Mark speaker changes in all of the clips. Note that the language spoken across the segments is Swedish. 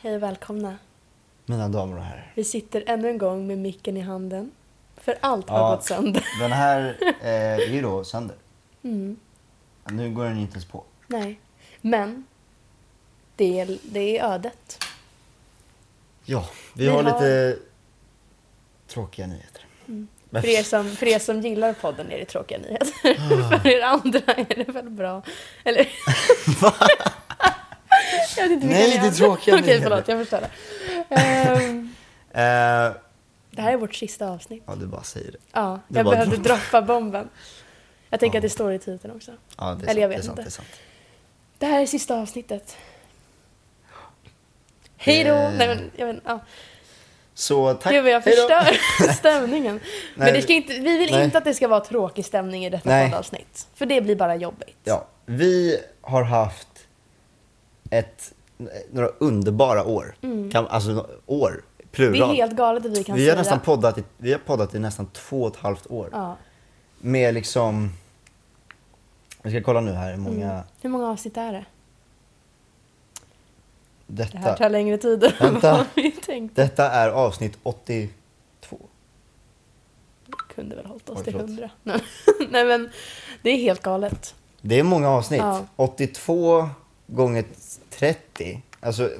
Speaker 1: Hej och välkomna.
Speaker 2: Mina damer och herrar.
Speaker 1: Vi sitter ännu en gång med micken i handen. För allt har
Speaker 2: Ja.
Speaker 1: gått sönder.
Speaker 2: Den här eh, är ju då sönder.
Speaker 1: Mm,
Speaker 2: Nu går den inte ens på.
Speaker 1: nej. Men, det är, det är ödet.
Speaker 2: Ja, vi,
Speaker 1: Vi
Speaker 2: har
Speaker 1: har- Mm.
Speaker 2: lite tråkiga nyheter. Men-
Speaker 1: För er, som, för er som gillar podden är det tråkiga nyheter.
Speaker 2: Ah.
Speaker 1: för er andra är det väl bra. Eller... jag vet inte vilka
Speaker 2: Nej,
Speaker 1: ni
Speaker 2: det är
Speaker 1: är.
Speaker 2: tråkiga
Speaker 1: Okej,
Speaker 2: nyheter.
Speaker 1: förlåt. Jag förstår det. Ehm,
Speaker 2: Eh,
Speaker 1: det här är vårt sista avsnitt.
Speaker 2: ja, du bara säger det.
Speaker 1: Ja,
Speaker 2: Det
Speaker 1: jag
Speaker 2: var-
Speaker 1: behövde droppa bomben. Jag tänker
Speaker 2: Ja.
Speaker 1: att det står i titeln också.
Speaker 2: Ja, det är sant.
Speaker 1: Eller jag
Speaker 2: det
Speaker 1: vet
Speaker 2: är sant,
Speaker 1: inte.
Speaker 2: Det är sant.
Speaker 1: Det här är sista avsnittet. Hej då!
Speaker 2: Eh.
Speaker 1: Nej, men, jag men, ja.
Speaker 2: Så tack.
Speaker 1: Gud vad jag
Speaker 2: Hej då.
Speaker 1: förstör stämningen. men det ska inte, vi vill
Speaker 2: nej.
Speaker 1: inte att det ska vara tråkig stämning i detta
Speaker 2: Nej.
Speaker 1: poddavsnitt. För det blir bara jobbigt.
Speaker 2: Ja, vi har haft ett, några underbara år. Kan, alltså år, plural.
Speaker 1: Det är helt galet att Mm. vi kan
Speaker 2: vi
Speaker 1: säga...
Speaker 2: har, nästan poddat i, vi har poddat i nästan två och ett halvt år.
Speaker 1: ja.
Speaker 2: Med liksom... Vi ska kolla nu här hur många...
Speaker 1: Mm. Hur många avsnitt är det? Det här
Speaker 2: Detta,
Speaker 1: tar längre tid än
Speaker 2: Vänta.
Speaker 1: vad vi tänkte.
Speaker 2: detta är avsnitt 82.
Speaker 1: Vi kunde väl hållit oss
Speaker 2: Oj,
Speaker 1: till
Speaker 2: förlåt.
Speaker 1: hundra. Nej nej, men det är helt galet.
Speaker 2: Det är många avsnitt.
Speaker 1: Ja.
Speaker 2: 82 gånger 30. Alltså, eh,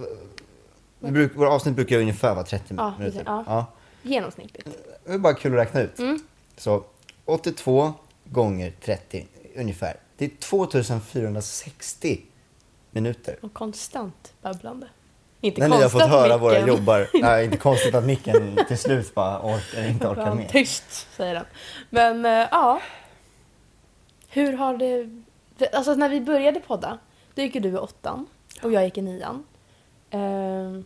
Speaker 2: vi bruk, våra avsnitt brukar ju ungefär vara 30
Speaker 1: Ja,
Speaker 2: minuter.
Speaker 1: precis, ja. Genomsnittligt.
Speaker 2: Det är bara kul att räkna ut.
Speaker 1: Mm.
Speaker 2: Så 82 gånger 30 ungefär. Det är 2460 minuter.
Speaker 1: Och konstant babblande. Inte
Speaker 2: När ni har
Speaker 1: konstant
Speaker 2: fått höra
Speaker 1: mycket.
Speaker 2: våra jobbar. Nej, inte konstigt att micken till slut bara orkar, inte orkar
Speaker 1: Fan,
Speaker 2: mer.
Speaker 1: Tyst, säger den. Men eh, ja. Hur har det... Alltså när vi började podda, då gick ju du i åttan och jag gick i nian. Eh,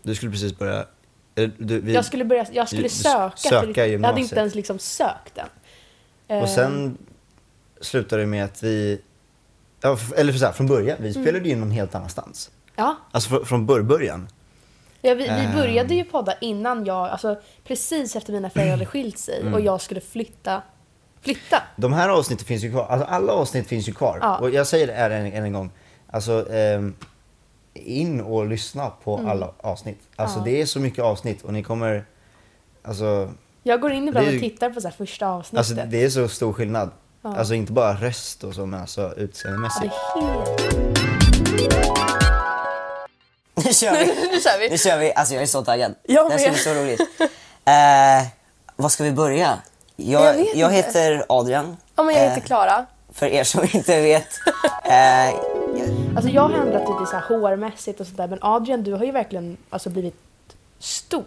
Speaker 2: Du skulle precis börja... eller Du, vi,
Speaker 1: jag skulle, börja, jag skulle
Speaker 2: du-
Speaker 1: söka,
Speaker 2: söka
Speaker 1: till, Jag hade
Speaker 2: gymnasiet.
Speaker 1: inte ens liksom sökt den. Eh,
Speaker 2: Och sen slutade det med att vi... Ja, f- eller så här, från början, vi
Speaker 1: Mm.
Speaker 2: spelade ju in någon helt annanstans.
Speaker 1: Ja,
Speaker 2: Alltså fr- från bör- början.
Speaker 1: ja vi, vi
Speaker 2: Ehm.
Speaker 1: började ju podda innan jag, alltså precis efter mina föräldrar hade skilt sig och
Speaker 2: Mm.
Speaker 1: jag skulle flytta. Flytta?
Speaker 2: De här avsnitten finns ju kvar. Alltså alla avsnitt finns ju kvar.
Speaker 1: Ja.
Speaker 2: Och jag säger det här än, än en gång. Alltså, ehm, in och lyssna på alla avsnitt. Alltså
Speaker 1: Mm. Ja.
Speaker 2: det är så mycket avsnitt och ni kommer... Alltså,
Speaker 1: Jag går in ibland
Speaker 2: Det
Speaker 1: och
Speaker 2: är ju-
Speaker 1: tittar på så här första avsnittet.
Speaker 2: alltså det är så stor skillnad.
Speaker 1: Ja.
Speaker 2: Alltså inte bara röst och så men alltså
Speaker 1: Ja,
Speaker 2: utseendemässigt.
Speaker 1: det är helt...
Speaker 3: Nu kör vi!
Speaker 1: Nu kör vi!
Speaker 3: Nu kör vi! Alltså jag är så taggad.
Speaker 1: Jag
Speaker 3: det här ska
Speaker 1: med.
Speaker 3: bli så roligt. Eh, var ska vi börja? Jag,
Speaker 1: Jag vet inte.
Speaker 3: heter Adrian.
Speaker 1: Ja, men jag
Speaker 3: Eh,
Speaker 2: Äh.
Speaker 1: heter Klara.
Speaker 3: för er som inte vet. Eh,
Speaker 1: Alltså jag har ändrat lite så här hårmässigt och sånt där men Adrian du har ju verkligen alltså, blivit stor.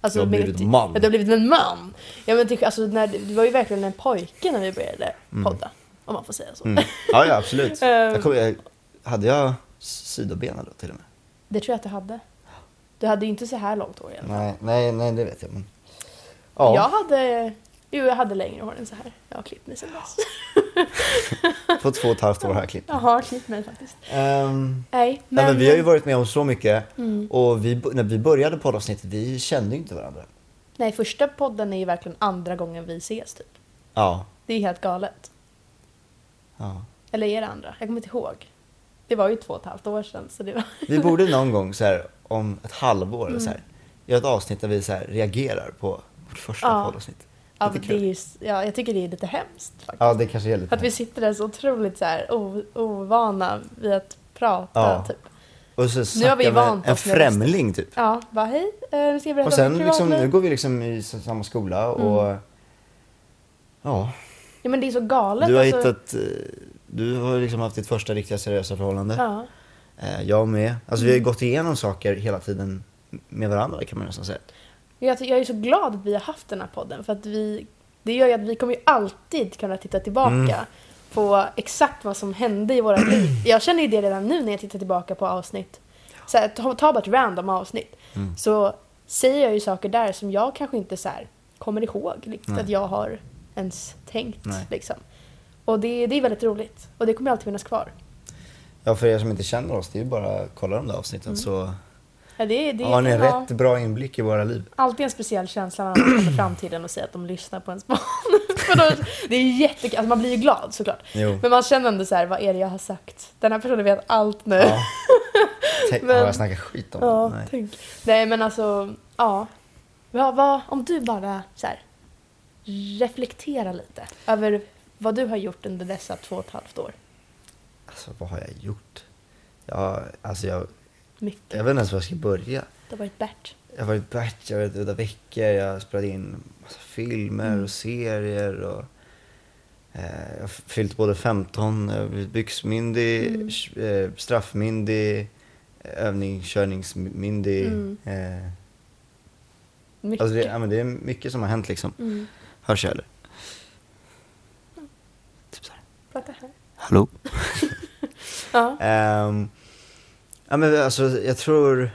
Speaker 1: Alltså,
Speaker 2: Jag har
Speaker 1: med-
Speaker 2: blivit en man.
Speaker 1: Ja, du har blivit en man. Ja, men, till- alltså, när, du var ju verkligen en pojke när vi började podda. Om man får säga så.
Speaker 2: Mm. Ja, ja absolut.
Speaker 1: Ehm.
Speaker 2: jag kommer, jag, hade jag sidobena då till och med?
Speaker 1: Det tror jag att du hade. Du hade ju inte så här långt hår i alla fall.
Speaker 2: Nej, nej, nej det vet jag. Men...
Speaker 1: Jag
Speaker 2: Ja,
Speaker 1: hade... Jo, jag hade längre hår än så här. Jag har klippt mig sen dess.
Speaker 2: på två och ett halvt år har jag klippt.
Speaker 1: Jag har klippt mig faktiskt.
Speaker 2: Ehm,
Speaker 1: Nej, men... Mm.
Speaker 2: nej, men vi har ju varit med om så mycket och vi, bo- när vi började poddavsnittet, vi kände ju inte varandra.
Speaker 1: Nej, första podden är ju verkligen andra gången vi ses typ.
Speaker 2: Ja.
Speaker 1: Det är helt galet.
Speaker 2: ja.
Speaker 1: Eller är det andra? Jag kommer inte ihåg. Det var ju två och ett halvt år sedan. Så det var...
Speaker 2: Vi borde någon gång så här, om ett halvår eller så här,
Speaker 1: Mm.
Speaker 2: göra ett avsnitt där vi så här, reagerar på vårt första
Speaker 1: Ja.
Speaker 2: poddavsnitt.
Speaker 1: ja,
Speaker 2: Lite
Speaker 1: det är
Speaker 2: kul.
Speaker 1: ju, ja, jag tycker det är lite hemskt. Faktiskt.
Speaker 2: Ja, det kanske är lite...
Speaker 1: Att vi sitter där så otroligt så här, o, ovana vid att prata.
Speaker 2: Ja.
Speaker 1: Typ.
Speaker 2: Och så
Speaker 1: Nu har vi
Speaker 2: snackar med
Speaker 1: vant
Speaker 2: en
Speaker 1: oss med rösten.
Speaker 2: främling typ.
Speaker 1: ja, bara hej, eh, nu ska jag berätta
Speaker 2: Och sen
Speaker 1: om mitt
Speaker 2: liksom, nu
Speaker 1: privatliv.
Speaker 2: går vi liksom i s- samma skola och...
Speaker 1: Mm.
Speaker 2: Ja,
Speaker 1: Ja, men det är så galet.
Speaker 2: du har
Speaker 1: alltså.
Speaker 2: hittat... eh, Du har liksom haft ditt första riktiga seriösa förhållande.
Speaker 1: Ja. Mm.
Speaker 2: Eh, Jag med. Alltså vi har ju gått igenom saker hela tiden med varandra kan man nästan säga.
Speaker 1: Jag, jag är så glad att vi har haft den här podden. För att vi, det gör ju att vi kommer ju alltid kunna titta tillbaka
Speaker 2: Mm.
Speaker 1: på exakt vad som hände i våra liv. Jag känner ju det redan nu när jag tittar tillbaka på avsnitt. Så här, ta, ta bara ett random avsnitt.
Speaker 2: Mm.
Speaker 1: Så säger jag ju saker där som jag kanske inte så här, kommer ihåg riktigt
Speaker 2: Nej.
Speaker 1: att jag har ens tänkt.
Speaker 2: Nej.
Speaker 1: Liksom. Och det, det är väldigt roligt. Och det kommer alltid finnas kvar.
Speaker 2: Ja, för er som inte känner oss, det är ju bara att kolla de där avsnitten så
Speaker 1: Ja, Mm. det, det
Speaker 2: har ni
Speaker 1: ja,
Speaker 2: rätt bra inblick i våra liv.
Speaker 1: Alltid en speciell känsla när man kommer fram till den och säger att de lyssnar på ens barn. För då, det är ju jättekul, alltså man blir ju glad såklart.
Speaker 2: Jo.
Speaker 1: Men man känner ändå så här, vad är det jag har sagt? Den här personen vet allt nu.
Speaker 2: Ja. Tänk,
Speaker 1: Men-
Speaker 2: har jag snackat skit om
Speaker 1: Ja,
Speaker 2: Nej.
Speaker 1: tänk. Nej, men alltså, ja. Va, va, om du bara så här, reflektera lite över vad du har gjort under dessa två och ett halvt år.
Speaker 2: Alltså, vad har jag gjort? Jag, alltså, jag,
Speaker 1: Mycket.
Speaker 2: jag vet inte ens var jag ska börja.
Speaker 1: Det har varit Bert.
Speaker 2: Jag har varit batch, jag har varit ute veckor, jag har spelat in massa filmer
Speaker 1: Mm.
Speaker 2: och serier. Och, eh, jag har fyllt både 15, jag har blivit byxmyndig,
Speaker 1: Mm.
Speaker 2: sh- eh, straffmyndig, övningskörningsmyndig.
Speaker 1: Mm.
Speaker 2: Eh,
Speaker 1: Mycket.
Speaker 2: alltså det, ja, men det är mycket som har hänt liksom.
Speaker 1: mm.
Speaker 2: Hörs jag eller? Typ så här.
Speaker 1: Prata här.
Speaker 2: Hallå?
Speaker 1: Ja.
Speaker 2: Ehm, ja, men alltså, jag tror...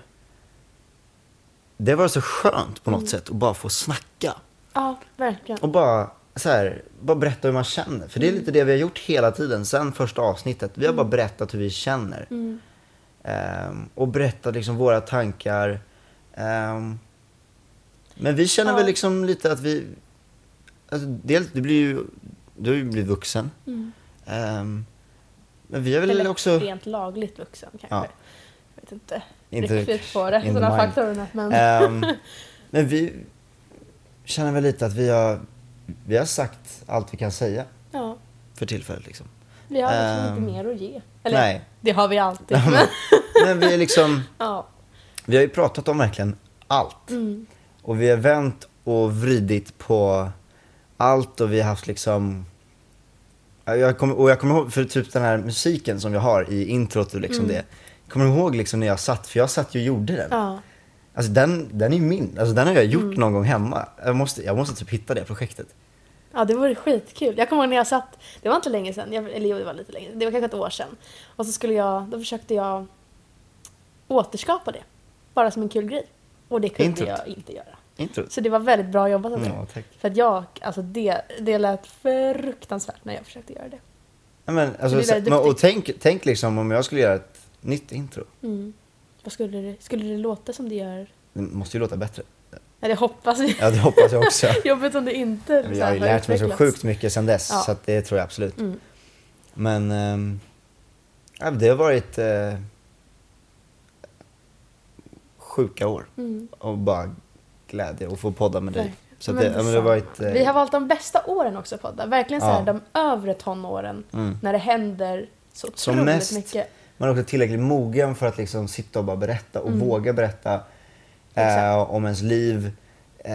Speaker 2: Det var så skönt
Speaker 1: Mm.
Speaker 2: på något sätt att bara få snacka.
Speaker 1: ja, verkligen.
Speaker 2: Och bara, så här, bara berätta hur man känner. För det
Speaker 1: Mm.
Speaker 2: är lite det vi har gjort hela tiden sen första avsnittet. Vi har bara berättat hur vi känner.
Speaker 1: Mm.
Speaker 2: Ehm, och berättat liksom våra tankar. Ehm, men vi känner
Speaker 1: Ja.
Speaker 2: väl liksom lite att vi... Alltså, dels, du blir ju... Du har ju blivit vuxen.
Speaker 1: Mm.
Speaker 2: Ehm, men vi har väl
Speaker 1: Eller
Speaker 2: också...
Speaker 1: rent lagligt vuxen kanske.
Speaker 2: Ja.
Speaker 1: Jag vet inte,
Speaker 2: Inte-
Speaker 1: riktigt på det,
Speaker 2: inte
Speaker 1: sådana
Speaker 2: mine.
Speaker 1: faktorerna. Men,
Speaker 2: Ehm, men vi känner väl lite att vi har, vi har sagt allt vi kan säga
Speaker 1: ja,
Speaker 2: för tillfället. Liksom.
Speaker 1: vi har liksom
Speaker 2: Ehm,
Speaker 1: inte mer att ge. Eller,
Speaker 2: nej.
Speaker 1: det har vi alltid.
Speaker 2: Nej,
Speaker 1: men,
Speaker 2: men, men vi, är liksom,
Speaker 1: ja.
Speaker 2: vi har ju pratat om verkligen allt.
Speaker 1: Mm.
Speaker 2: Och vi har vänt och vridit på allt och vi har haft liksom... Ja, Jag kommer, och jag kommer ihåg, för typ den här musiken som jag har i introt och liksom det. Jag kommer ihåg liksom när jag satt, för jag satt ju och gjorde den.
Speaker 1: Mm. Ja. Mm.
Speaker 2: Alltså den, den är ju min, alltså den har jag gjort någon gång hemma. Jag måste, jag måste typ hitta det projektet.
Speaker 1: Ja, det vore skitkul. Jag kommer ihåg när jag satt, det var inte länge sedan, jag, eller jo det var lite länge det var kanske ett år sedan. Och så skulle jag, då försökte jag återskapa det. Bara som en kul grej. Och det kunde
Speaker 2: Introt.
Speaker 1: jag inte göra.
Speaker 2: Introt.
Speaker 1: Så det var väldigt bra jobbat av mig.
Speaker 2: Ja, tack.
Speaker 1: För att jag, alltså det, det lät fruktansvärt när jag försökte göra det.
Speaker 2: Ja, men,
Speaker 1: Du
Speaker 2: alltså,
Speaker 1: blir
Speaker 2: så,
Speaker 1: väldigt
Speaker 2: men, och
Speaker 1: duktig.
Speaker 2: tänk, tänk liksom om jag skulle göra ett nytt intro.
Speaker 1: Mm. Vad skulle det, skulle det låta som det gör?
Speaker 2: Det måste ju låta bättre.
Speaker 1: Nej, det hoppas vi.
Speaker 2: Ja, det hoppas jag också.
Speaker 1: Jobbigt om det inte
Speaker 2: Men
Speaker 1: så
Speaker 2: jag
Speaker 1: här
Speaker 2: har ju lärt mig så
Speaker 1: utvecklats.
Speaker 2: sjukt mycket sen dess,
Speaker 1: Ja.
Speaker 2: så att det tror jag absolut.
Speaker 1: Mm.
Speaker 2: Men ehm, ja, det har varit eh, sjuka år.
Speaker 1: Mm.
Speaker 2: Och bara glädje att få podda med dig.
Speaker 1: Verkligen.
Speaker 2: Så att
Speaker 1: Men
Speaker 2: det, ja, men det har
Speaker 1: detsamma.
Speaker 2: varit... eh,
Speaker 1: Vi har valt de bästa åren också på podda. Verkligen så här,
Speaker 2: Ja.
Speaker 1: de övre tonåren.
Speaker 2: Mm.
Speaker 1: När det händer så otroligt
Speaker 2: Som mest.
Speaker 1: mycket.
Speaker 2: Man är också tillräckligt mogen för att liksom sitta och bara berätta och våga berätta eh,
Speaker 1: Mm. Exakt.
Speaker 2: om ens liv eh,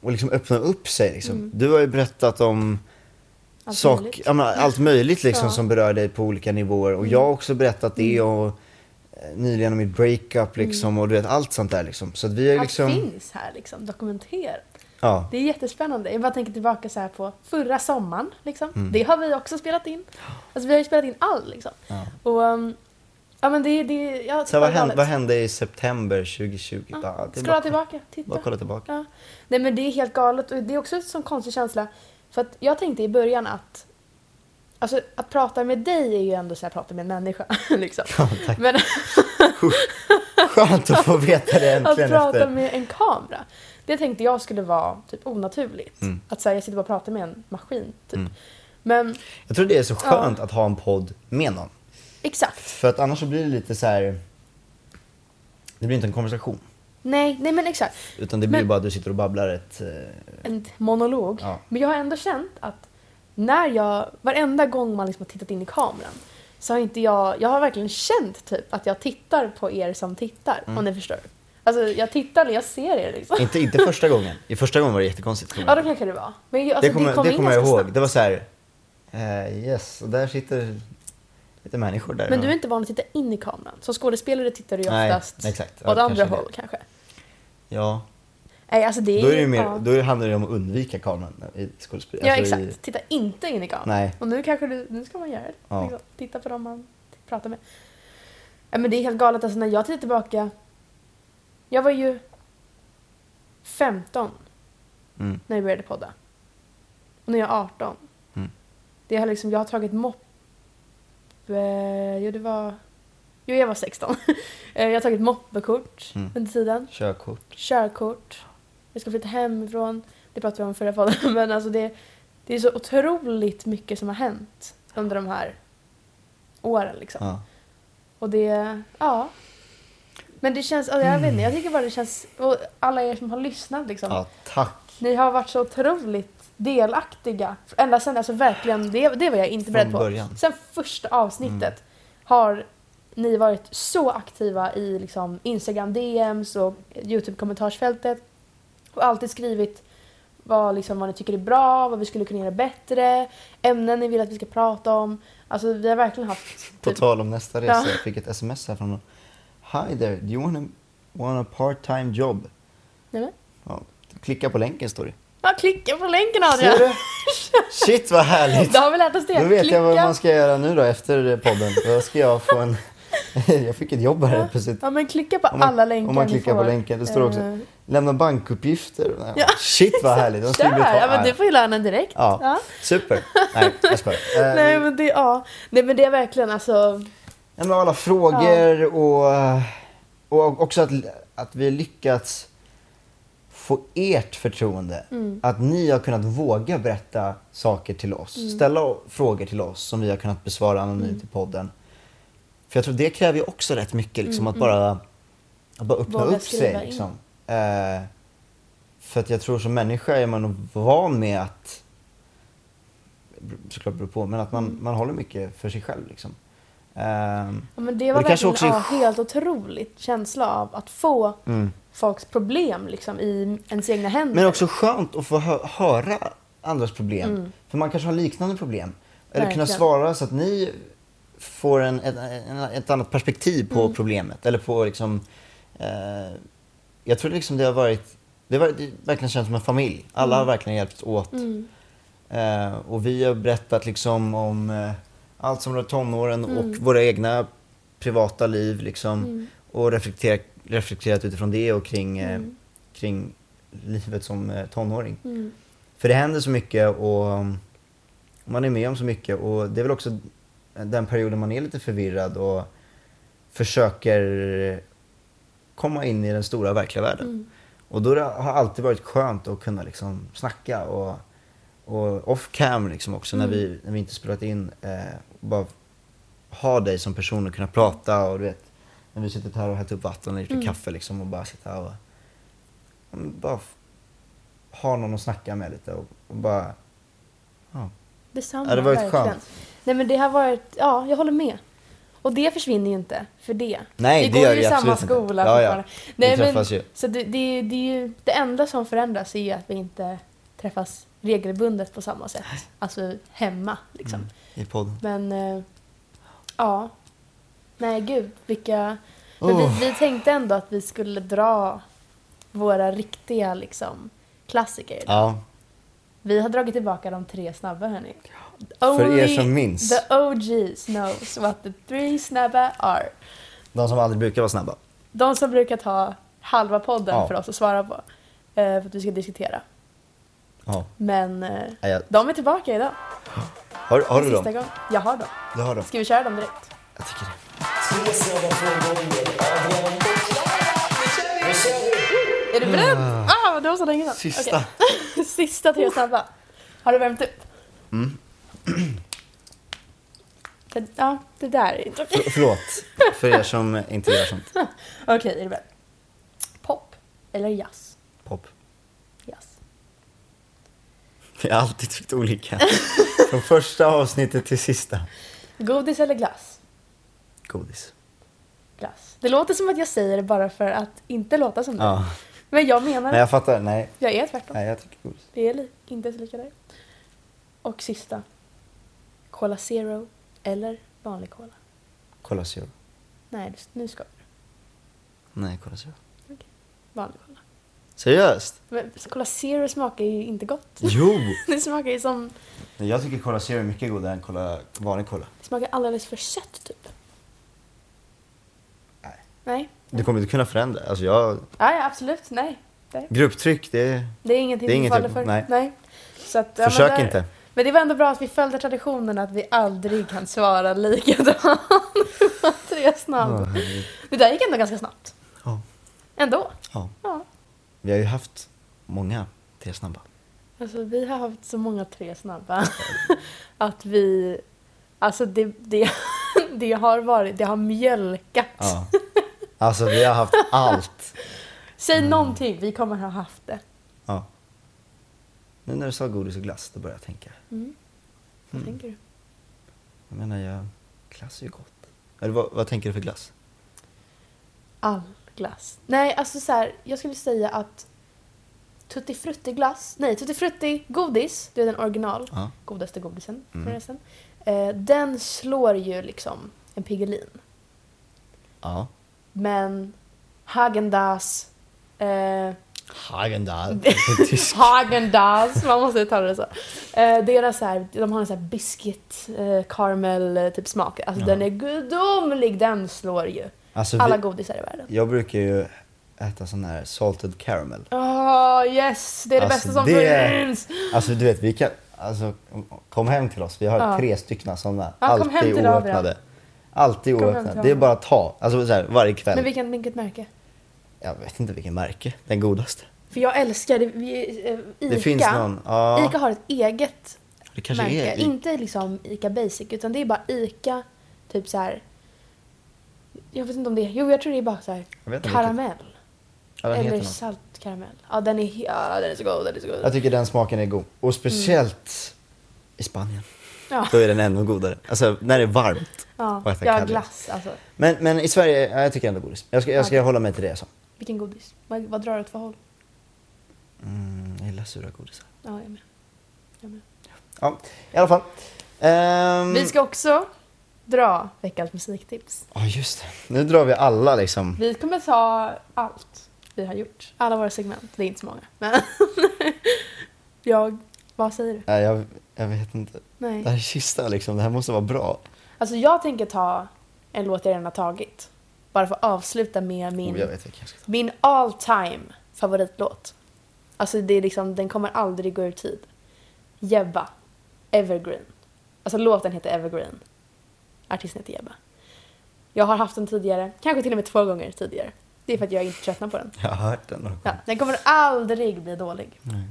Speaker 2: och liksom öppna upp sig. Liksom.
Speaker 1: Mm.
Speaker 2: Du har ju berättat om
Speaker 1: Allt
Speaker 2: sak,
Speaker 1: möjligt.
Speaker 2: ja, men allt möjligt liksom,
Speaker 1: Ja. Mm.
Speaker 2: som berör dig på olika nivåer och jag har också berättat det och eh, nyligen om mitt breakup liksom, och du vet allt sånt där. Liksom. Så att vi är
Speaker 1: Mm. Allt
Speaker 2: liksom...
Speaker 1: finns här liksom, dokumenterat.
Speaker 2: Ja,
Speaker 1: Det är jättespännande. Jag bara tänker tillbaka så här på förra sommaren. Liksom.
Speaker 2: Mm.
Speaker 1: Det har vi också spelat in. Alltså vi har ju spelat in allt liksom.
Speaker 2: ja.
Speaker 1: Och, um, ja men det, det ja,
Speaker 2: Så vad,
Speaker 1: det är Ah,
Speaker 2: hände,
Speaker 1: galet.
Speaker 2: vad hände i september 2020?
Speaker 1: Ja,
Speaker 2: Bara, det är
Speaker 1: Scrolla
Speaker 2: bara,
Speaker 1: tillbaka, titta.
Speaker 2: bara kolla tillbaka.
Speaker 1: Ja. Nej men det är helt galet och det är också en sån konstig känsla. För att jag tänkte i början att Alltså att prata med dig är ju ändå så här, prata med en människa. Liksom.
Speaker 2: Ja, tack.
Speaker 1: Men
Speaker 2: Skönt att få veta det
Speaker 1: att
Speaker 2: äntligen
Speaker 1: prata
Speaker 2: efter.
Speaker 1: med en kamera, det tänkte jag skulle vara typ onaturligt.
Speaker 2: Mm.
Speaker 1: Att så här, jag sitter bara och pratar med en maskin. Typ. Men
Speaker 2: Jag tror det är så skönt att ha en podd med någon.
Speaker 1: exakt.
Speaker 2: För att annars så blir det lite så här. Det blir inte en konversation.
Speaker 1: Nej, nej men exakt.
Speaker 2: Utan det blir
Speaker 1: Men-
Speaker 2: bara att du sitter och babblar ett... eh,
Speaker 1: en monolog.
Speaker 2: Ja.
Speaker 1: Men jag har ändå känt att när jag, varenda gång man liksom har tittat in i kameran så har inte jag, jag har verkligen känt typ att jag tittar på er som tittar,
Speaker 2: Mm.
Speaker 1: om ni förstår. Alltså jag tittar eller jag ser er liksom.
Speaker 2: Inte, inte första gången. I första gången var det jättekonstigt. kommer
Speaker 1: Ja,
Speaker 2: jag
Speaker 1: då
Speaker 2: ihåg.
Speaker 1: kanske det var. Men ju- alltså,
Speaker 2: Det kommer,
Speaker 1: kom
Speaker 2: det
Speaker 1: in
Speaker 2: kommer jag
Speaker 1: ganska
Speaker 2: ihåg.
Speaker 1: snabbt.
Speaker 2: Det var så här... eh, yes, och där sitter lite människor där.
Speaker 1: Men du är inte van att titta in i kameran. Som skådespelare tittar du ju
Speaker 2: Nej,
Speaker 1: oftast
Speaker 2: exakt. Ja,
Speaker 1: åt andra
Speaker 2: kanske det.
Speaker 1: håll kanske.
Speaker 2: Ja.
Speaker 1: Nej, alltså det är
Speaker 2: Då, är det ju mer,
Speaker 1: ja.
Speaker 2: då handlar det om att undvika kameran i skådespel.
Speaker 1: Ja,
Speaker 2: alltså i-
Speaker 1: exakt. Titta inte in i kameran.
Speaker 2: Nej.
Speaker 1: Och nu kanske du, nu ska man göra det.
Speaker 2: Ja.
Speaker 1: Liksom, titta på dem man pratar med. Ja, men det är helt galet. Alltså, när jag tittar tillbaka. Jag var ju 15
Speaker 2: Mm.
Speaker 1: när jag började podda. Och nu är jag 18.
Speaker 2: Mm.
Speaker 1: Det har liksom, jag har tagit mopp... Eh, jo, det var... Jo, jag var 16. Eh, jag har tagit moppekort
Speaker 2: Mm.
Speaker 1: under tiden
Speaker 2: Körkort.
Speaker 1: körkort, jag ska flytta hemifrån. Det pratade vi om i förra podden. Men alltså det, det är så otroligt mycket som har hänt under de här åren. Liksom.
Speaker 2: Ja.
Speaker 1: Och det, ja. Men det känns, ja, jag vet inte, jag tycker bara det känns, och alla er som har lyssnat liksom.
Speaker 2: Ja, tack.
Speaker 1: Ni har varit så otroligt delaktiga. Ända sedan, alltså verkligen, det, det var jag inte beredd på.
Speaker 2: början. Mm.
Speaker 1: Sen första avsnittet har ni varit så aktiva i liksom Instagram DMs och Youtube-kommentarsfältet. Och alltid skrivit vad, liksom, vad ni tycker är bra, vad vi skulle kunna göra bättre, ämnen ni vill att vi ska prata om. Alltså vi har verkligen haft...
Speaker 2: På
Speaker 1: typ-
Speaker 2: tal om nästa resa,
Speaker 1: Ja.
Speaker 2: jag fick ett sms här från någon. Hi there, do you want a, want a part time job?
Speaker 1: Nej, men.
Speaker 2: Ja, klicka på länken står det.
Speaker 1: Ja, klicka på länken Adrian!
Speaker 2: Ser du? Shit vad härligt!
Speaker 1: Då har vi lärt oss det.
Speaker 2: Då vet
Speaker 1: klicka.
Speaker 2: jag vad man ska göra nu då efter eh, podden. Då ska jag få en... jag fick ett jobb här helt plötsligt.
Speaker 1: Ja, men klicka på
Speaker 2: Om man-
Speaker 1: alla länkar
Speaker 2: Om man
Speaker 1: ni
Speaker 2: klickar på
Speaker 1: får.
Speaker 2: länken, det står också
Speaker 1: Eh,
Speaker 2: lämna bankuppgifter. Nej,
Speaker 1: Ja.
Speaker 2: Shit vad härligt, de skulle bli
Speaker 1: Där! Ja, men
Speaker 2: arg.
Speaker 1: du får ju lönen direkt.
Speaker 2: Ja.
Speaker 1: Ja.
Speaker 2: Super! Nej, jag skojar. Eh,
Speaker 1: Nej, men det, ja. Nej, men det är verkligen alltså...
Speaker 2: Nej, men alla frågor och, och också att, att vi lyckats få ert förtroende.
Speaker 1: Mm.
Speaker 2: Att ni har kunnat våga berätta saker till oss.
Speaker 1: Mm.
Speaker 2: Ställa frågor till oss som vi har kunnat besvara anonymt i podden. För jag tror det kräver ju också rätt mycket liksom, att, bara, att bara öppna
Speaker 1: Mm, Våga
Speaker 2: upp
Speaker 1: skriva
Speaker 2: sig.
Speaker 1: in.
Speaker 2: Liksom. Eh, för att jag tror som människa är man nog van med att såklart beror på, men att man,
Speaker 1: Mm.
Speaker 2: man håller mycket för sig själv liksom. Ehm,
Speaker 1: Ja, men det var
Speaker 2: Och det kanske
Speaker 1: verkligen
Speaker 2: också
Speaker 1: ja,
Speaker 2: är- Mm.
Speaker 1: helt otroligt känsla av att få folks problem liksom, i ens egna händer.
Speaker 2: Men också skönt att få hö- höra andras problem.
Speaker 1: Mm.
Speaker 2: För man kanske har liknande problem. Eller kunna
Speaker 1: Verkligen.
Speaker 2: svara så att ni får en, ett, en, ett annat perspektiv
Speaker 1: Mm.
Speaker 2: på problemet. Eller på liksom, eh, jag tror liksom det har varit, det har varit- det verkligen känns som en familj. Alla
Speaker 1: Mm.
Speaker 2: har verkligen hjälpts åt. Eh, och vi har berättat liksom om eh, allt som rör tonåren
Speaker 1: Mm.
Speaker 2: och våra egna privata liv liksom. Och reflekterat, reflekterat utifrån det och kring, eh, kring livet som eh, tonåring.
Speaker 1: Mm.
Speaker 2: För det händer så mycket och um, man är med om så mycket och det är väl också den perioden man är lite förvirrad och försöker komma in i den stora verkliga världen. Och då har det alltid varit skönt att kunna liksom snacka och, och off cam liksom också när, vi, när vi inte spelat in. Eh, bara ha dig som person och kunna prata och du vet när vi suttit här och hällt upp vatten och gjort en kaffe liksom och bara sitta och ja, men bara f- ha någon att snacka med lite och, och bara ja.
Speaker 1: Detsamma,
Speaker 2: Ja, det har varit
Speaker 1: verkligen.
Speaker 2: skönt.
Speaker 1: Nej, men det har varit... Ja, jag håller med. Och det försvinner ju inte för det.
Speaker 2: Nej,
Speaker 1: vi
Speaker 2: det
Speaker 1: går
Speaker 2: gör
Speaker 1: ju
Speaker 2: det
Speaker 1: i samma
Speaker 2: absolut inte.
Speaker 1: skola
Speaker 2: Ja, ja.
Speaker 1: fortfarande.
Speaker 2: Vi
Speaker 1: Nej, men,
Speaker 2: träffas ju.
Speaker 1: Så det, det, är- det är ju det enda som förändras är ju att vi inte träffas regelbundet på samma sätt. Alltså hemma liksom.
Speaker 2: i podden.
Speaker 1: Men eh, ja. Nej gud vilka. Men
Speaker 2: Oh.
Speaker 1: vi, vi tänkte ändå att vi skulle dra våra riktiga liksom klassiker.
Speaker 2: Ja,
Speaker 1: Vi har dragit tillbaka de tre snabba hörni.
Speaker 2: För er som minns.
Speaker 1: The OGs knows what the three snabba are.
Speaker 2: de som aldrig brukar vara snabba.
Speaker 1: De som brukar ta halva podden
Speaker 2: Ja.
Speaker 1: för oss att svara på. eh, För att vi ska diskutera.
Speaker 2: Ja.
Speaker 1: Men eh,
Speaker 2: Ja, jag-
Speaker 1: de är tillbaka idag.
Speaker 2: Har, har du
Speaker 1: Sista
Speaker 2: dem?
Speaker 1: gången. Jag har dem.
Speaker 2: Du har dem?
Speaker 1: Ska vi köra dem direkt?
Speaker 2: Jag tycker det.
Speaker 1: Är du beredd? Ah, det var så länge sedan.
Speaker 2: Sista.
Speaker 1: Okej. Sista tre snabba. Har du värmt upp?
Speaker 2: Mm.
Speaker 1: Det, ja, det där är inte okej.
Speaker 2: För, förlåt för er som inte gör sånt.
Speaker 1: Okej, är du beredd? Pop eller jazz?
Speaker 2: Pop.
Speaker 1: Jazz.
Speaker 2: Vi har alltid tyckt olika. Från första avsnittet till sista.
Speaker 1: Godis eller glass?
Speaker 2: Godis.
Speaker 1: Glass. Det låter som att jag säger det bara för att inte låta som det.
Speaker 2: Ja.
Speaker 1: Men jag menar
Speaker 2: Nej
Speaker 1: det.
Speaker 2: jag fattar, nej.
Speaker 1: Jag är tvärtom.
Speaker 2: Nej jag tycker godis.
Speaker 1: Det är li- inte så lika där. Och sista. Cola Zero eller vanlig cola?
Speaker 2: Kolla Zero.
Speaker 1: Nej, du- nu ska du.
Speaker 2: Nej, kolla Zero.
Speaker 1: Vanlig cola.
Speaker 2: Seriöst?
Speaker 1: Men Cola Zero smakar ju inte gott.
Speaker 2: Jo!
Speaker 1: Det smakar ju som...
Speaker 2: Nej, Jag tycker Cola Zero är mycket godare än cola, vanlig Cola.
Speaker 1: Det smakar alldeles för sött, typ.
Speaker 2: Nej.
Speaker 1: Nej.
Speaker 2: Du kommer inte kunna förändra. Alltså jag,
Speaker 1: Ja, ja, absolut. Nej. Det,
Speaker 2: grupptryck, det...
Speaker 1: det är ingenting
Speaker 2: Det är
Speaker 1: vi
Speaker 2: ingenting,
Speaker 1: faller för.
Speaker 2: nej.
Speaker 1: Så att, ja, men
Speaker 2: Försök
Speaker 1: där-
Speaker 2: inte.
Speaker 1: Men det var ändå bra att vi följde traditionen att vi aldrig kan svara likadant. Tre snabbt.
Speaker 2: Ja, herregud.
Speaker 1: Det där gick ändå ganska snabbt.
Speaker 2: Ja.
Speaker 1: Ändå.
Speaker 2: ja.
Speaker 1: Ja.
Speaker 2: Vi har ju haft många tre snabba.
Speaker 1: Alltså vi har haft så många tre snabba att vi... Alltså det, det, det har varit, det har mjölkat.
Speaker 2: Ja. Alltså vi har haft allt.
Speaker 1: Säg
Speaker 2: Mm.
Speaker 1: någonting, vi kommer ha haft det.
Speaker 2: Ja. Nu när du sa godis och glass, då började jag tänka.
Speaker 1: Vad tänker du?
Speaker 2: Jag menar, jag, glass är ju gott. Eller vad, vad tänker du för glass?
Speaker 1: All glass. Nej, alltså så här, jag skulle säga att Tutti Frutti glass, nej Tutti Frutti godis, det är den original,
Speaker 2: Ja. Mm.
Speaker 1: godaste godisen förresten. Eh, den slår ju liksom en Piggelin.
Speaker 2: Ja.
Speaker 1: Men Häagen-Dazs, eh,
Speaker 2: Hagendal.
Speaker 1: Häagen-Dazs, man måste uttala det så. Eh, deras så här, de har en sån här biscuit, eh, caramel eh, typ smak. Alltså den är gudomlig, den slår ju.
Speaker 2: Alltså,
Speaker 1: Alla
Speaker 2: vi,
Speaker 1: godisar i världen.
Speaker 2: jag brukar ju äta sån här salted caramel.
Speaker 1: Åh, yes! Det är det
Speaker 2: Alltså,
Speaker 1: bästa som
Speaker 2: det-
Speaker 1: finns!
Speaker 2: Alltså du vet, vi kan... Alltså, kom hem till oss. Vi har
Speaker 1: Ja.
Speaker 2: tre stycken sådana.
Speaker 1: Ja, kom
Speaker 2: alltid
Speaker 1: hem till Adrian.
Speaker 2: oöppnade. Alltid
Speaker 1: Kom hem
Speaker 2: oöppnade.
Speaker 1: till
Speaker 2: Det är
Speaker 1: honom.
Speaker 2: bara att ta. Alltså så här, varje kväll.
Speaker 1: Men vilken, vilket märke?
Speaker 2: Jag vet inte vilken märke. Den godaste.
Speaker 1: För jag älskar det, vi, eh, Ica.
Speaker 2: Det finns någon. Ja.
Speaker 1: Ica har ett eget
Speaker 2: Det kanske
Speaker 1: märke.
Speaker 2: är i-
Speaker 1: Inte liksom Ica Basic, utan det är bara Ica, typ så här. Jag vet inte om det är, jo jag tror det är bara så här
Speaker 2: Jag vet inte
Speaker 1: karamell.
Speaker 2: Ja, den heter
Speaker 1: Eller
Speaker 2: något.
Speaker 1: saltkaramell. Ja den är, he- ja, den är så god, den är så god.
Speaker 2: Jag tycker den smaken är god. Och speciellt i Spanien.
Speaker 1: Ja,
Speaker 2: Då är den ännu godare. Alltså när det är varmt.
Speaker 1: ja.
Speaker 2: Och äta
Speaker 1: ja
Speaker 2: kaviar.
Speaker 1: glass alltså.
Speaker 2: Men, men i Sverige, ja, jag tycker ändå godis. Jag ska, jag ska
Speaker 1: Okej.
Speaker 2: hålla mig till det jag sa.
Speaker 1: Vilken godis. Vad, vad drar du åt för håll?
Speaker 2: Mm, jag gillar sura godisar.
Speaker 1: Ja, jag med. Jag med.
Speaker 2: Ja, i alla fall. Ehm,
Speaker 1: Vi ska också dra veckans musiktips.
Speaker 2: Ja, just det. Nu drar vi alla liksom.
Speaker 1: Vi kommer ta allt vi har gjort. Alla våra segment. Det är inte så många. Men jag... Vad säger du?
Speaker 2: Nej, jag, jag vet inte. Det
Speaker 1: Nej.
Speaker 2: här är sista liksom. Det här måste vara bra.
Speaker 1: Alltså jag tänker ta en låt jag redan har tagit. Bara för att avsluta med
Speaker 2: Oh, jag
Speaker 1: min,
Speaker 2: vet vilken jag ska ta.
Speaker 1: min all time favoritlåt. Alltså det är liksom, den kommer aldrig gå ur tid. Jebba. Evergreen. Alltså låten heter Evergreen. Artisten heter Jebba. Jag har haft den tidigare. Kanske till och med två gånger tidigare. Det är för att jag inte tröttnar på den.
Speaker 2: Jag har hört den några
Speaker 1: Ja,
Speaker 2: gånger.
Speaker 1: den kommer aldrig bli dålig.
Speaker 2: Nej.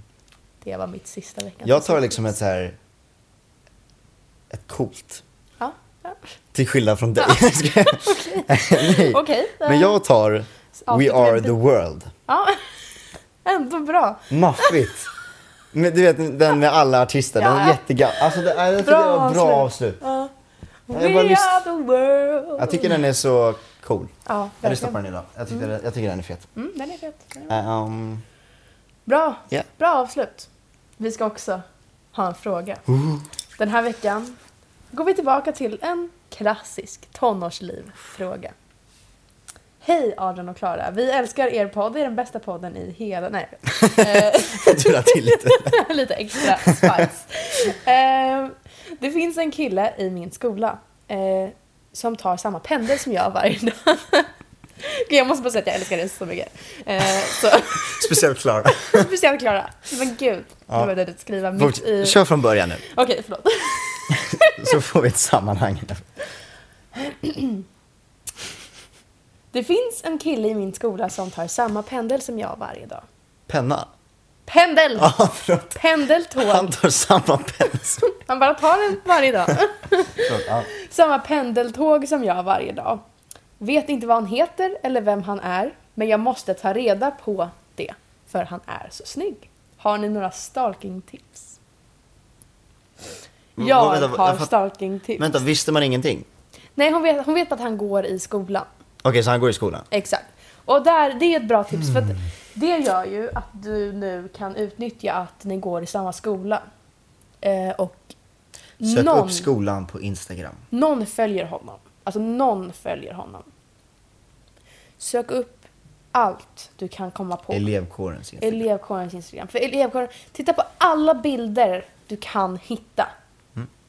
Speaker 1: Det var mitt sista veckan.
Speaker 2: Jag tar liksom ett så här... Ett coolt.
Speaker 1: Ja, ja.
Speaker 2: Till skillnad från dig. Jag ska- Nej.
Speaker 1: Okej.
Speaker 2: Men jag tar We Are The World.
Speaker 1: Ja, ändå bra.
Speaker 2: Maffigt. Men du vet den med alla artister, den är
Speaker 1: Ja.
Speaker 2: jättegammal. Alltså det, jag tycker det var ett bra avslut.
Speaker 1: Ja.
Speaker 2: Jag
Speaker 1: We
Speaker 2: bara lyssn-
Speaker 1: are the world.
Speaker 2: Jag tycker den är så cool.
Speaker 1: Ja,
Speaker 2: Jag lyssnar på
Speaker 1: verkligen.
Speaker 2: den idag. Jag tycker, jag tycker den är fet.
Speaker 1: Mm, den är fet. Den är bra.
Speaker 2: Eh, um,
Speaker 1: Bra.
Speaker 2: Ja.
Speaker 1: Bra avslut. Vi ska också ha en fråga. Den här veckan går vi tillbaka till en klassisk tonårsliv-fråga. Hej Adrian och Klara. Vi älskar er podd. Det är den bästa podden i hela... Nej, Eh,
Speaker 2: jag turar till lite.
Speaker 1: Lite extra spice. Eh, det finns en kille i min skola eh, som tar samma pendel som jag varje dag. Gud, jag måste bara säga att jag älskar dig så mycket. Eh, så,
Speaker 2: Speciellt Klara.
Speaker 1: speciellt Klara. Men gud,
Speaker 2: Ja.
Speaker 1: nu började jag skriva mitt i...
Speaker 2: Forts-
Speaker 1: Okej,
Speaker 2: Kör från början nu,
Speaker 1: förlåt.
Speaker 2: så får vi ett sammanhang.
Speaker 1: Det finns en kille i min skola som tar samma pendel som jag varje dag.
Speaker 2: Penna.
Speaker 1: Pendel!
Speaker 2: Ja, förlåt. Han
Speaker 1: Pendeltåg.
Speaker 2: tar samma penna som...
Speaker 1: Han bara tar den varje dag.
Speaker 2: Förlåt, ja.
Speaker 1: Samma pendeltåg som jag varje dag. Vet inte vad han heter eller vem han är, men jag måste ta reda på det. För han är så snygg. Har ni några stalkingtips?
Speaker 2: Men,
Speaker 1: Jag
Speaker 2: vad- vänta,
Speaker 1: har
Speaker 2: jag fatt-
Speaker 1: stalkingtips.
Speaker 2: Vänta, visste man ingenting?
Speaker 1: Nej, hon vet, hon vet att han går i skolan.
Speaker 2: Okej, så han går i skolan?
Speaker 1: Exakt. Och där, det är ett bra tips för att det gör ju att du nu kan utnyttja att ni går i samma skola. Eh, och
Speaker 2: Sök
Speaker 1: någon,
Speaker 2: upp skolan på Instagram.
Speaker 1: någon följer honom. Alltså någon följer honom. Sök upp allt du kan komma på.
Speaker 2: Elevkårens Instagram.
Speaker 1: Elevkårens Instagram. För elevkåren, titta på alla bilder du kan hitta.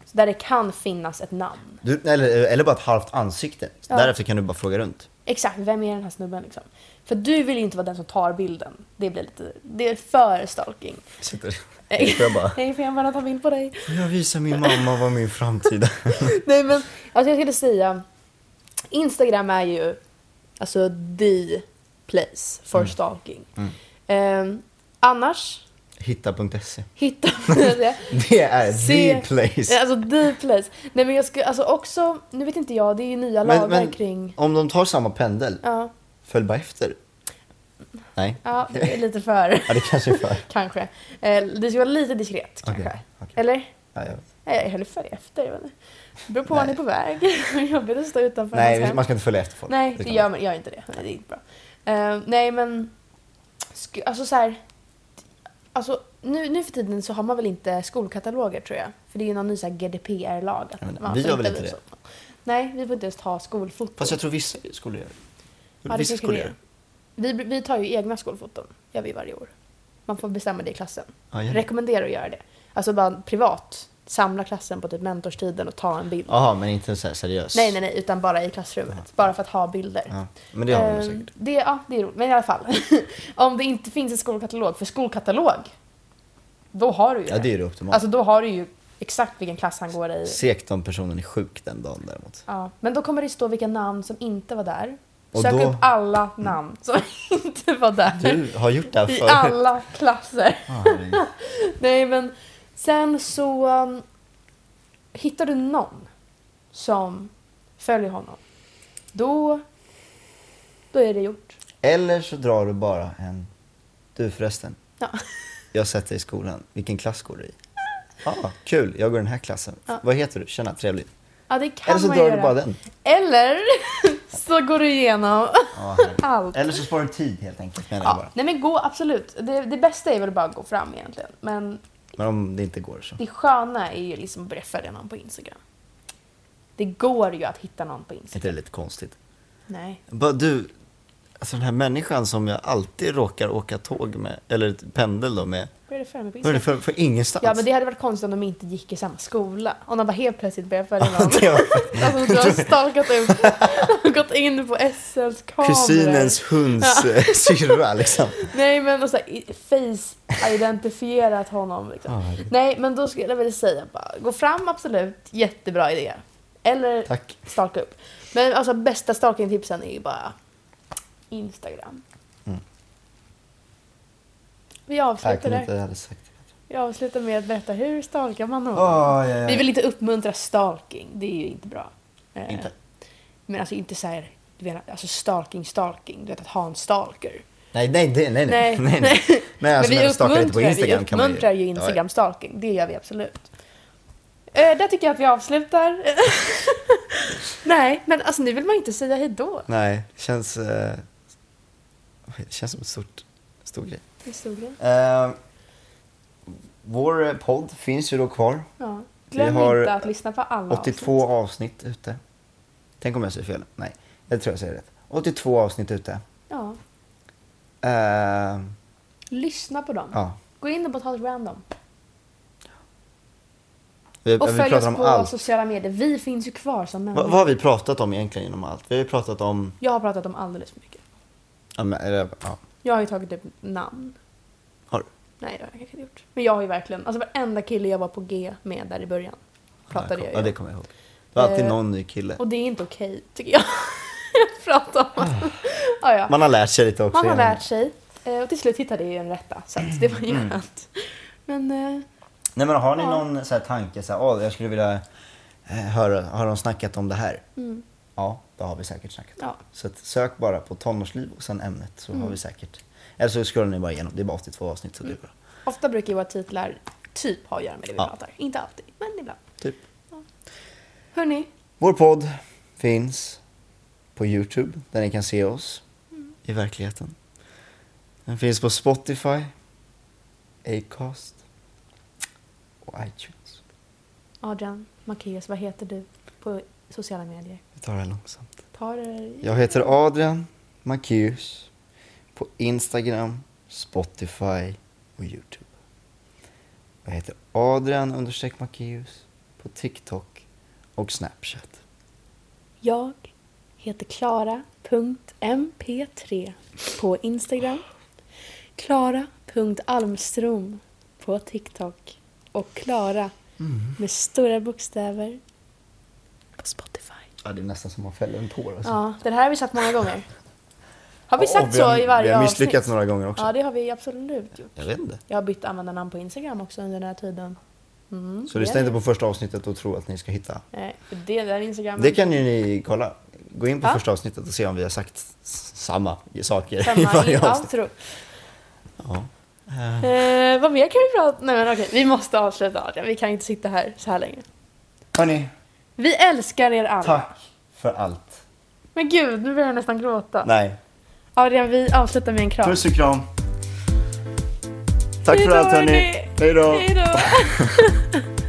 Speaker 1: Så där det kan finnas ett namn.
Speaker 2: Du, eller, eh, eller bara ett halvt ansikte.
Speaker 1: Ja.
Speaker 2: Därefter kan du bara fråga runt.
Speaker 1: Exakt, vem är den här snubben liksom? För du vill ju inte vara den som tar bilden. Det blir lite, det är för stalking.
Speaker 2: Sitter jag bara...
Speaker 1: Nej, får jag bara ta bild på dig?
Speaker 2: Jag visar min mamma vad min framtida...
Speaker 1: Nej men, alltså jag skulle säga, Instagram är ju alltså the place for
Speaker 2: Mm.
Speaker 1: stalking. Ehm, annars,
Speaker 2: Hitta.se.
Speaker 1: hitta...
Speaker 2: E. Det är
Speaker 1: Se-
Speaker 2: the place.
Speaker 1: alltså the place. Nej men jag skulle, alltså också, nu vet inte jag, det är ju nya
Speaker 2: Men-
Speaker 1: lagar
Speaker 2: men-
Speaker 1: kring...
Speaker 2: Om de tar samma pendel,
Speaker 1: Ja.
Speaker 2: Föll bara efter? Nej?
Speaker 1: Ja, det är lite för...
Speaker 2: Ja, det kanske är för.
Speaker 1: kanske. Eh, det ska vara lite diskret kanske.
Speaker 2: Okej, okej.
Speaker 1: Eller?
Speaker 2: Ja, jag...
Speaker 1: Nej, jag höll följa efter. Jag vet inte. Det beror på var ni är på väg. Jobbigt att stå utanför hans
Speaker 2: Nej,
Speaker 1: hem.
Speaker 2: man ska inte följa efter folk.
Speaker 1: Nej, det
Speaker 2: kan
Speaker 1: gör
Speaker 2: man.
Speaker 1: man gör inte det. Nej, det är inte bra. Eh, nej, men... Sk- alltså så här... Alltså, nu, nu för tiden så har man väl inte skolkataloger, tror jag. För det är ju någon ny så här GDPR-lag. att
Speaker 2: Jag menar,
Speaker 1: man
Speaker 2: vi
Speaker 1: får
Speaker 2: gör väl
Speaker 1: inte
Speaker 2: inte
Speaker 1: visa- Nej, vi får inte ens ha skolfoton.
Speaker 2: Fast jag tror vissa skolor gör det.
Speaker 1: Ja, det
Speaker 2: vissa
Speaker 1: kanske
Speaker 2: skolor
Speaker 1: det är.
Speaker 2: gör
Speaker 1: vi, vi tar ju egna skolfoton, gör vi varje år. Man får bestämma det i klassen.
Speaker 2: Ja, gör det.
Speaker 1: Rekommenderar att göra det. Alltså bara privat, samla klassen på typ mentorstiden och ta en bild.
Speaker 2: Jaha, men inte så här seriöst?
Speaker 1: Nej, nej, nej, utan bara i klassrummet. Bara för att ha bilder.
Speaker 2: Ja, men det har de
Speaker 1: Eh,
Speaker 2: säkert.
Speaker 1: Det, ja, det är roligt. Men i alla fall. om det inte finns en skolkatalog, för skolkatalog, då har du ju
Speaker 2: Ja, det är det optimala.
Speaker 1: Alltså då har du ju exakt vilken klass han går i.
Speaker 2: Segt om personen är sjuk den dagen däremot.
Speaker 1: Ja. Men då kommer det stå vilka namn som inte var där.
Speaker 2: Och
Speaker 1: Sök
Speaker 2: då-
Speaker 1: upp alla namn som inte var där.
Speaker 2: Du har gjort det här
Speaker 1: I
Speaker 2: förut.
Speaker 1: alla klasser.
Speaker 2: Ja, herregud.
Speaker 1: Nej men sen så um, hittar du någon som följer honom. Då, då är det gjort.
Speaker 2: Eller så drar du bara en... Du förresten,
Speaker 1: Ja.
Speaker 2: jag har sett dig i skolan. Vilken klass går du i? Ah, kul, jag går i den här klassen.
Speaker 1: Ja.
Speaker 2: Vad heter du? Tjena, trevligt.
Speaker 1: Ja det kan
Speaker 2: Eller så
Speaker 1: man
Speaker 2: drar
Speaker 1: göra.
Speaker 2: du bara den.
Speaker 1: Eller så går du igenom
Speaker 2: Ja,
Speaker 1: allt.
Speaker 2: Eller så sparar du tid helt enkelt. Menar jag
Speaker 1: Ja.
Speaker 2: bara.
Speaker 1: Nej men gå absolut. Det, det bästa är väl bara att gå fram egentligen. Men
Speaker 2: Men om det inte går så.
Speaker 1: det sköna är ju liksom att börja följa någon på Instagram. Det går ju att hitta någon på
Speaker 2: Är
Speaker 1: Instagram.
Speaker 2: inte det lite konstigt?
Speaker 1: Nej.
Speaker 2: Bara du, alltså den här människan som jag alltid råkar åka tåg med, eller ett pendel då med.
Speaker 1: Börja följa mig på
Speaker 2: Vad är
Speaker 1: Instagram.
Speaker 2: det för, för ingenstans?
Speaker 1: Ja men det hade varit konstigt om de inte gick i samma skola. Om de bara helt plötsligt började följa någon.
Speaker 2: Det var-
Speaker 1: Alltså du har stalkat ut, och gått in på SLs kameror.
Speaker 2: Kusinens hunds eh, syrra liksom.
Speaker 1: Nej men och så här, i- face-identifierat honom liksom.
Speaker 2: Ja, Ah, herregud.
Speaker 1: Nej men då skulle jag vilja säga bara, gå fram absolut, jättebra idé. Eller
Speaker 2: Tack.
Speaker 1: stalka upp. Men alltså bästa stalkingtipsen är ju bara Instagram.
Speaker 2: Mm.
Speaker 1: Vi
Speaker 2: Jag
Speaker 1: avslutar
Speaker 2: kunde
Speaker 1: där.
Speaker 2: inte hade sagt det.
Speaker 1: Vi avslutar med att berätta hur stalkar man någon?
Speaker 2: Åh, ja, ja.
Speaker 1: Vi vill inte uppmuntra stalking, det är ju inte bra. Eh,
Speaker 2: Inte.
Speaker 1: Men alltså inte så här, du vet, alltså stalking, stalking, du vet att ha en stalker.
Speaker 2: Nej, nej, nej, nej.
Speaker 1: Nej, nej.
Speaker 2: nej, nej. Men, alltså,
Speaker 1: men vi
Speaker 2: men stalkar lite på
Speaker 1: uppmuntrar, vi
Speaker 2: Instagram kan man ju.
Speaker 1: uppmuntrar ju
Speaker 2: Ja, ja.
Speaker 1: Instagram-stalking, det gör vi absolut. Eh, där tycker jag att vi avslutar. Nej, men alltså nu vill man inte säga hejdå.
Speaker 2: Nej, känns... Eh, oj, det känns som ett stort, stor grej.
Speaker 1: Historien.
Speaker 2: Eh, vår eh, podd finns ju då kvar.
Speaker 1: Ja. Glöm
Speaker 2: Vi har
Speaker 1: inte att lyssna på alla
Speaker 2: 82 avsnitt ute. Tänk om jag säger fel? Nej, jag tror jag säger rätt. 82 avsnitt ute.
Speaker 1: Ja.
Speaker 2: Eh,
Speaker 1: Lyssna på dem.
Speaker 2: ja.
Speaker 1: Gå in och bara ta ett random.
Speaker 2: Vi,
Speaker 1: Och
Speaker 2: vi
Speaker 1: följ
Speaker 2: pratar
Speaker 1: oss
Speaker 2: om
Speaker 1: på
Speaker 2: allt.
Speaker 1: sociala medier. Vi finns ju kvar som
Speaker 2: Va,
Speaker 1: människor.
Speaker 2: vad har vi pratat om egentligen genom allt? Vi har ju pratat om...
Speaker 1: Jag har pratat om alldeles för mycket.
Speaker 2: Ja, men, eller, ja.
Speaker 1: Jag har ju tagit upp namn.
Speaker 2: Har du?
Speaker 1: Nej, det har jag kanske inte gjort. Men jag har ju verkligen, alltså varenda kille jag var på G med där i början pratade
Speaker 2: ja,
Speaker 1: jag
Speaker 2: Ja,
Speaker 1: ju
Speaker 2: det
Speaker 1: om.
Speaker 2: kommer jag ihåg. Det var alltid
Speaker 1: Eh,
Speaker 2: någon ny kille.
Speaker 1: Och det är inte okej, tycker jag. jag pratar om ja, ja. Man,
Speaker 2: Man har lärt sig lite också.
Speaker 1: har
Speaker 2: genom-
Speaker 1: lärt sig. Eh, Och till slut hittade jag ju en rätta, så att det var ju
Speaker 2: Mm.
Speaker 1: skönt. Men eh,
Speaker 2: Nej men har ni
Speaker 1: Ja.
Speaker 2: någon så här tanke så här, "Åh, jag skulle vilja eh, höra, har de snackat om det här? Ja, det har vi säkert snackat om.
Speaker 1: Mm. Ja. Mm.
Speaker 2: Så att sök bara på tonårsliv och sen ämnet så har vi säkert. Eller så scrollar ni bara igenom, det är bara 82 avsnitt så det är bra.
Speaker 1: ofta brukar ju våra titlar typ ha att göra med det vi
Speaker 2: Ja.
Speaker 1: pratar. Inte alltid, men ibland.
Speaker 2: Typ.
Speaker 1: Hörni,
Speaker 2: Vår podd finns på Youtube där ni kan se oss
Speaker 1: Mm.
Speaker 2: i verkligheten. Den finns på Spotify, Acast och iTunes.
Speaker 1: Adrian, Macéus, vad heter du på sociala medier?
Speaker 2: Vi tar det här långsamt.
Speaker 1: Ta det...
Speaker 2: Jag heter Adrian Macéus på Instagram, Spotify och Youtube. Jag heter Adrian understreck Macéus på TikTok och Snapchat.
Speaker 1: Jag heter klara.mp3 på Instagram. Klara.almstrom på TikTok. Och Klara
Speaker 2: Mm.
Speaker 1: med stora bokstäver på Spotify.
Speaker 2: Ja, det är nästan som man fäller en tår. Alltså.
Speaker 1: Ja, den här har vi sagt många gånger. Har vi
Speaker 2: Och
Speaker 1: sagt så i varje
Speaker 2: Vi har misslyckats
Speaker 1: avsnitt?
Speaker 2: några gånger också.
Speaker 1: Ja, det har vi absolut gjort.
Speaker 2: Jag vet inte.
Speaker 1: Jag har bytt användarnamn på Instagram också under den här tiden. Mm,
Speaker 2: Så
Speaker 1: det
Speaker 2: lyssna
Speaker 1: är Mm.
Speaker 2: inte på första avsnittet och tro att ni ska hitta.
Speaker 1: Nej, för det där Instagram...
Speaker 2: Det kan ju ni kolla. gå in på
Speaker 1: Ja.
Speaker 2: första avsnittet och se om vi har sagt s- samma saker i
Speaker 1: Samma i
Speaker 2: varje avsnitt.
Speaker 1: outro.
Speaker 2: Ja.
Speaker 1: Eh, vad mer kan vi prata Nej men okej, vi måste avsluta. Adrian. Vi kan inte sitta här så här länge.
Speaker 2: Hörni,
Speaker 1: Vi älskar er alla.
Speaker 2: tack för allt.
Speaker 1: Men gud, nu börjar jag nästan gråta.
Speaker 2: Nej,
Speaker 1: Adrian, vi avslutar med en kram.
Speaker 2: puss och kram. Tack
Speaker 1: Hej
Speaker 2: för
Speaker 1: då,
Speaker 2: allt hörni.
Speaker 1: hörni.
Speaker 2: Hej då.
Speaker 1: Hej då.